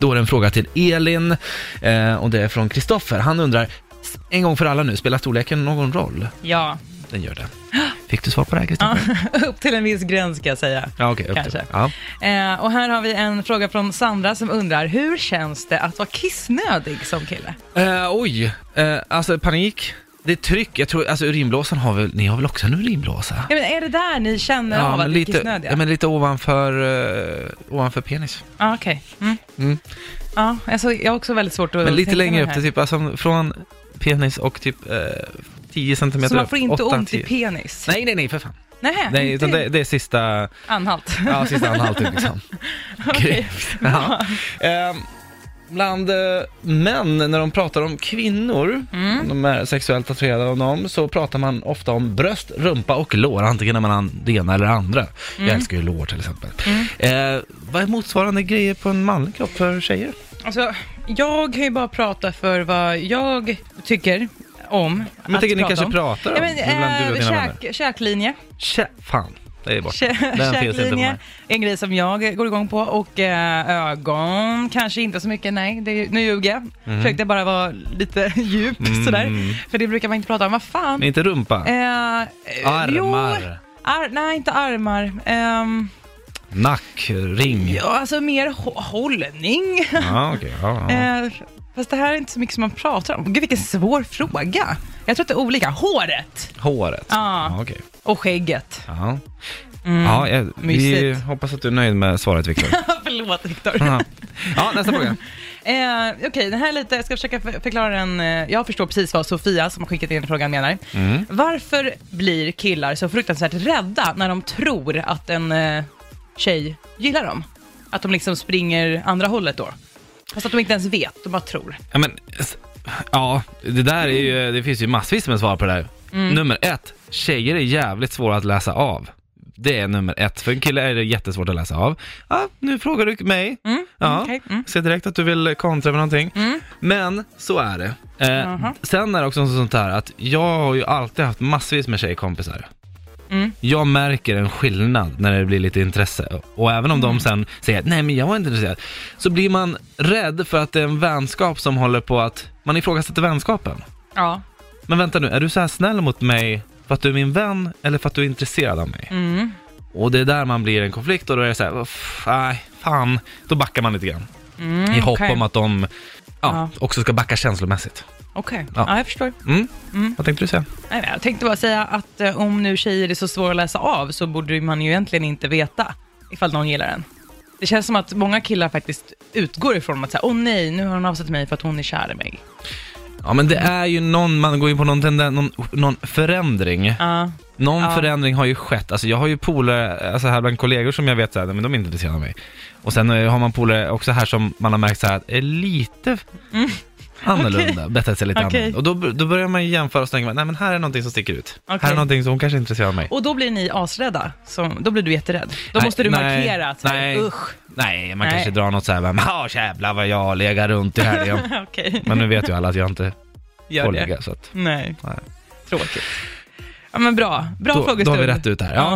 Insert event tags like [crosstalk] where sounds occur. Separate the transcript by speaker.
Speaker 1: Då är det en fråga till Elin eh, och det är från Kristoffer. Han undrar, en gång för alla nu, spelar storleken någon roll?
Speaker 2: Ja,
Speaker 1: Den gör
Speaker 2: [gasps]
Speaker 1: det. Fick du svar på det här Kristoffer?
Speaker 2: [laughs] upp till en viss gräns ska jag säga.
Speaker 1: Ja, okej. upp till-
Speaker 2: Kanske.
Speaker 1: Ja.
Speaker 2: Eh, och här har vi en fråga från Sandra som undrar, hur känns det att vara kissnödig som kille?
Speaker 1: Eh, oj, eh, alltså panik. Det är tryck, jag tror, alltså urinblåsan har väl, ni har väl också en urinblåsa?
Speaker 2: Ja, men är det där ni känner av att
Speaker 1: men
Speaker 2: ni är
Speaker 1: lite,
Speaker 2: kissnödiga?
Speaker 1: ja, men lite ovanför, eh, ovanför penis.
Speaker 2: Ja, okej. Mm.
Speaker 1: Mm.
Speaker 2: Ja, alltså, jag har också väldigt svårt att
Speaker 1: Men lite
Speaker 2: tänka
Speaker 1: längre
Speaker 2: mig
Speaker 1: upp,
Speaker 2: här.
Speaker 1: det är typ alltså, från penis och typ eh, 10 centimeter
Speaker 2: Så man får
Speaker 1: upp,
Speaker 2: inte
Speaker 1: åtta,
Speaker 2: ont i
Speaker 1: tio.
Speaker 2: penis?
Speaker 1: Nej, nej, nej, för fan.
Speaker 2: Nej,
Speaker 1: Nej,
Speaker 2: inte
Speaker 1: utan det, det är sista,
Speaker 2: anhalt.
Speaker 1: Ja, sista anhalten liksom.
Speaker 2: [laughs] Okej.
Speaker 1: ja. Ehm, bland eh, män, när de pratar om kvinnor,
Speaker 2: Mm.
Speaker 1: om de är sexuellt attraherade av dem, så pratar man ofta om bröst, rumpa och lår, antingen när man an- det ena eller det andra. Jag
Speaker 2: Mm.
Speaker 1: älskar ju lår till exempel. Eh, vad är motsvarande grejer på en manlig kropp för tjejer?
Speaker 2: Alltså, jag kan ju bara prata för vad jag tycker om
Speaker 1: Men jag
Speaker 2: att
Speaker 1: tänker ni
Speaker 2: prata
Speaker 1: kanske
Speaker 2: om.
Speaker 1: pratar om,
Speaker 2: Ja, men,
Speaker 1: bland du och
Speaker 2: eh,
Speaker 1: dina vänner.
Speaker 2: käk, käklinje.
Speaker 1: Tja, fan, det är borta.
Speaker 2: Kä-
Speaker 1: Den finns inte på mig.
Speaker 2: Käklinje är en grej som jag går igång på och eh, ögon kanske inte så mycket, nej, det, är- nu ljuger jag.
Speaker 1: Mhm.
Speaker 2: Försökte bara vara lite [laughs] djup
Speaker 1: Mm.
Speaker 2: sådär, för det brukar man inte prata om. Vad fan?
Speaker 1: Men inte rumpa,
Speaker 2: Eh, eh, Jo,
Speaker 1: armar,
Speaker 2: ar, nej, inte armar. Ehm,
Speaker 1: nack, ring.
Speaker 2: [laughs]
Speaker 1: Ja,
Speaker 2: ja, alltså mer hå- hållning.
Speaker 1: okej, ja, ja.
Speaker 2: Eh, fast det här är inte så mycket som man pratar om. Gud, vilken svår fråga. Jag tror att det är olika. Håret
Speaker 1: Håret.
Speaker 2: Ja.
Speaker 1: Ja, okej.
Speaker 2: och skägget. [laughs]
Speaker 1: Ja. ja, jag, vi
Speaker 2: Mm, mysigt.
Speaker 1: hoppas att du är nöjd med svaret
Speaker 2: [laughs]
Speaker 1: Viktor.
Speaker 2: Förlåt, Viktor.
Speaker 1: ja, Ja, nästa fråga.
Speaker 2: Eh, Okej, den här är lite, jag ska försöka för- förklara den. eh, Jag förstår precis vad Sofia som har skickat in frågan menar.
Speaker 1: Mm.
Speaker 2: Varför blir killar så fruktansvärt rädda när de tror att en eh, tjej gillar dem? Att de liksom springer andra hållet då? Fast att de inte ens vet, de bara tror.
Speaker 1: Ja, men, s- ja, det där är ju, det finns ju massvis med svar på det där.
Speaker 2: Mm.
Speaker 1: Nummer ett, tjejer är jävligt svåra att läsa av. Det är nummer ett. För en kille är det jättesvårt att läsa av. Ja, nu frågar du mig. Ja,
Speaker 2: okej, mm.
Speaker 1: ser direkt att du vill kontra med någonting. Men så är det. Eh,
Speaker 2: Jaha.
Speaker 1: Sen är det också sånt här att jag har ju alltid haft massvis med tjejkompisar.
Speaker 2: Mm.
Speaker 1: Jag märker en skillnad när det blir lite intresse. Och även om
Speaker 2: Mm.
Speaker 1: de sen säger nej men jag var inte intresserad. Så blir man rädd för att det är en vänskap som håller på att, man ifrågasätter vänskapen.
Speaker 2: Ja.
Speaker 1: Men vänta nu, är du så här snäll mot mig för att du är min vän eller för att du är intresserad av mig?
Speaker 2: Mm.
Speaker 1: Och det är där man blir en konflikt och då är det så här, "Uff, nej, fan, då backar man lite grann.
Speaker 2: Mm,
Speaker 1: I hopp
Speaker 2: okej.
Speaker 1: om att de ja,
Speaker 2: Ja.
Speaker 1: också ska backa känslomässigt.
Speaker 2: Okej,
Speaker 1: Ja.
Speaker 2: ja. jag förstår.
Speaker 1: Mm?
Speaker 2: Mm.
Speaker 1: Vad tänkte du säga?
Speaker 2: Nej, nej, jag tänkte bara säga att eh, om nu tjejer är så svåra att läsa av så borde man ju egentligen inte veta ifall någon gillar en. Det känns som att många killar faktiskt utgår ifrån att säga, åh nej, nu har hon avsatt mig för att hon är kär i mig.
Speaker 1: Ja men det är ju någon, man går in på någon, tenden, någon, någon förändring.
Speaker 2: Ja,
Speaker 1: Någon
Speaker 2: Ja.
Speaker 1: förändring har ju skett. Alltså jag har ju polare, alltså här bland kollegor som jag vet så här, nej, men de är inte intresserade av mig. Och sen eh, har man polare också här som man har märkt så här att är lite annorlunda,
Speaker 2: [laughs]
Speaker 1: betett sig lite
Speaker 2: Mm. Okej.
Speaker 1: annorlunda. Och då, b- då börjar man ju jämföra och tänka, nej men här är någonting som sticker ut. Här
Speaker 2: Okej.
Speaker 1: är någonting som hon kanske är intresserad av mig.
Speaker 2: Och då blir ni asrädda, så, då blir du jätterädd. Då
Speaker 1: Nej,
Speaker 2: måste du
Speaker 1: nej,
Speaker 2: markera att,
Speaker 1: nej.
Speaker 2: nej. usch, [laughs]
Speaker 1: Nej, man
Speaker 2: Nej.
Speaker 1: kanske drar något så här, men ja jävlar vad jag legar runt i
Speaker 2: [laughs]
Speaker 1: helgen.
Speaker 2: okej,
Speaker 1: men nu vet ju alla att jag inte
Speaker 2: gör
Speaker 1: får
Speaker 2: det.
Speaker 1: lägga så att,
Speaker 2: Nej.
Speaker 1: Nej.
Speaker 2: tråkigt. Ja men bra, bra
Speaker 1: då,
Speaker 2: frågestund.
Speaker 1: då har vi rätt ut här. Ja,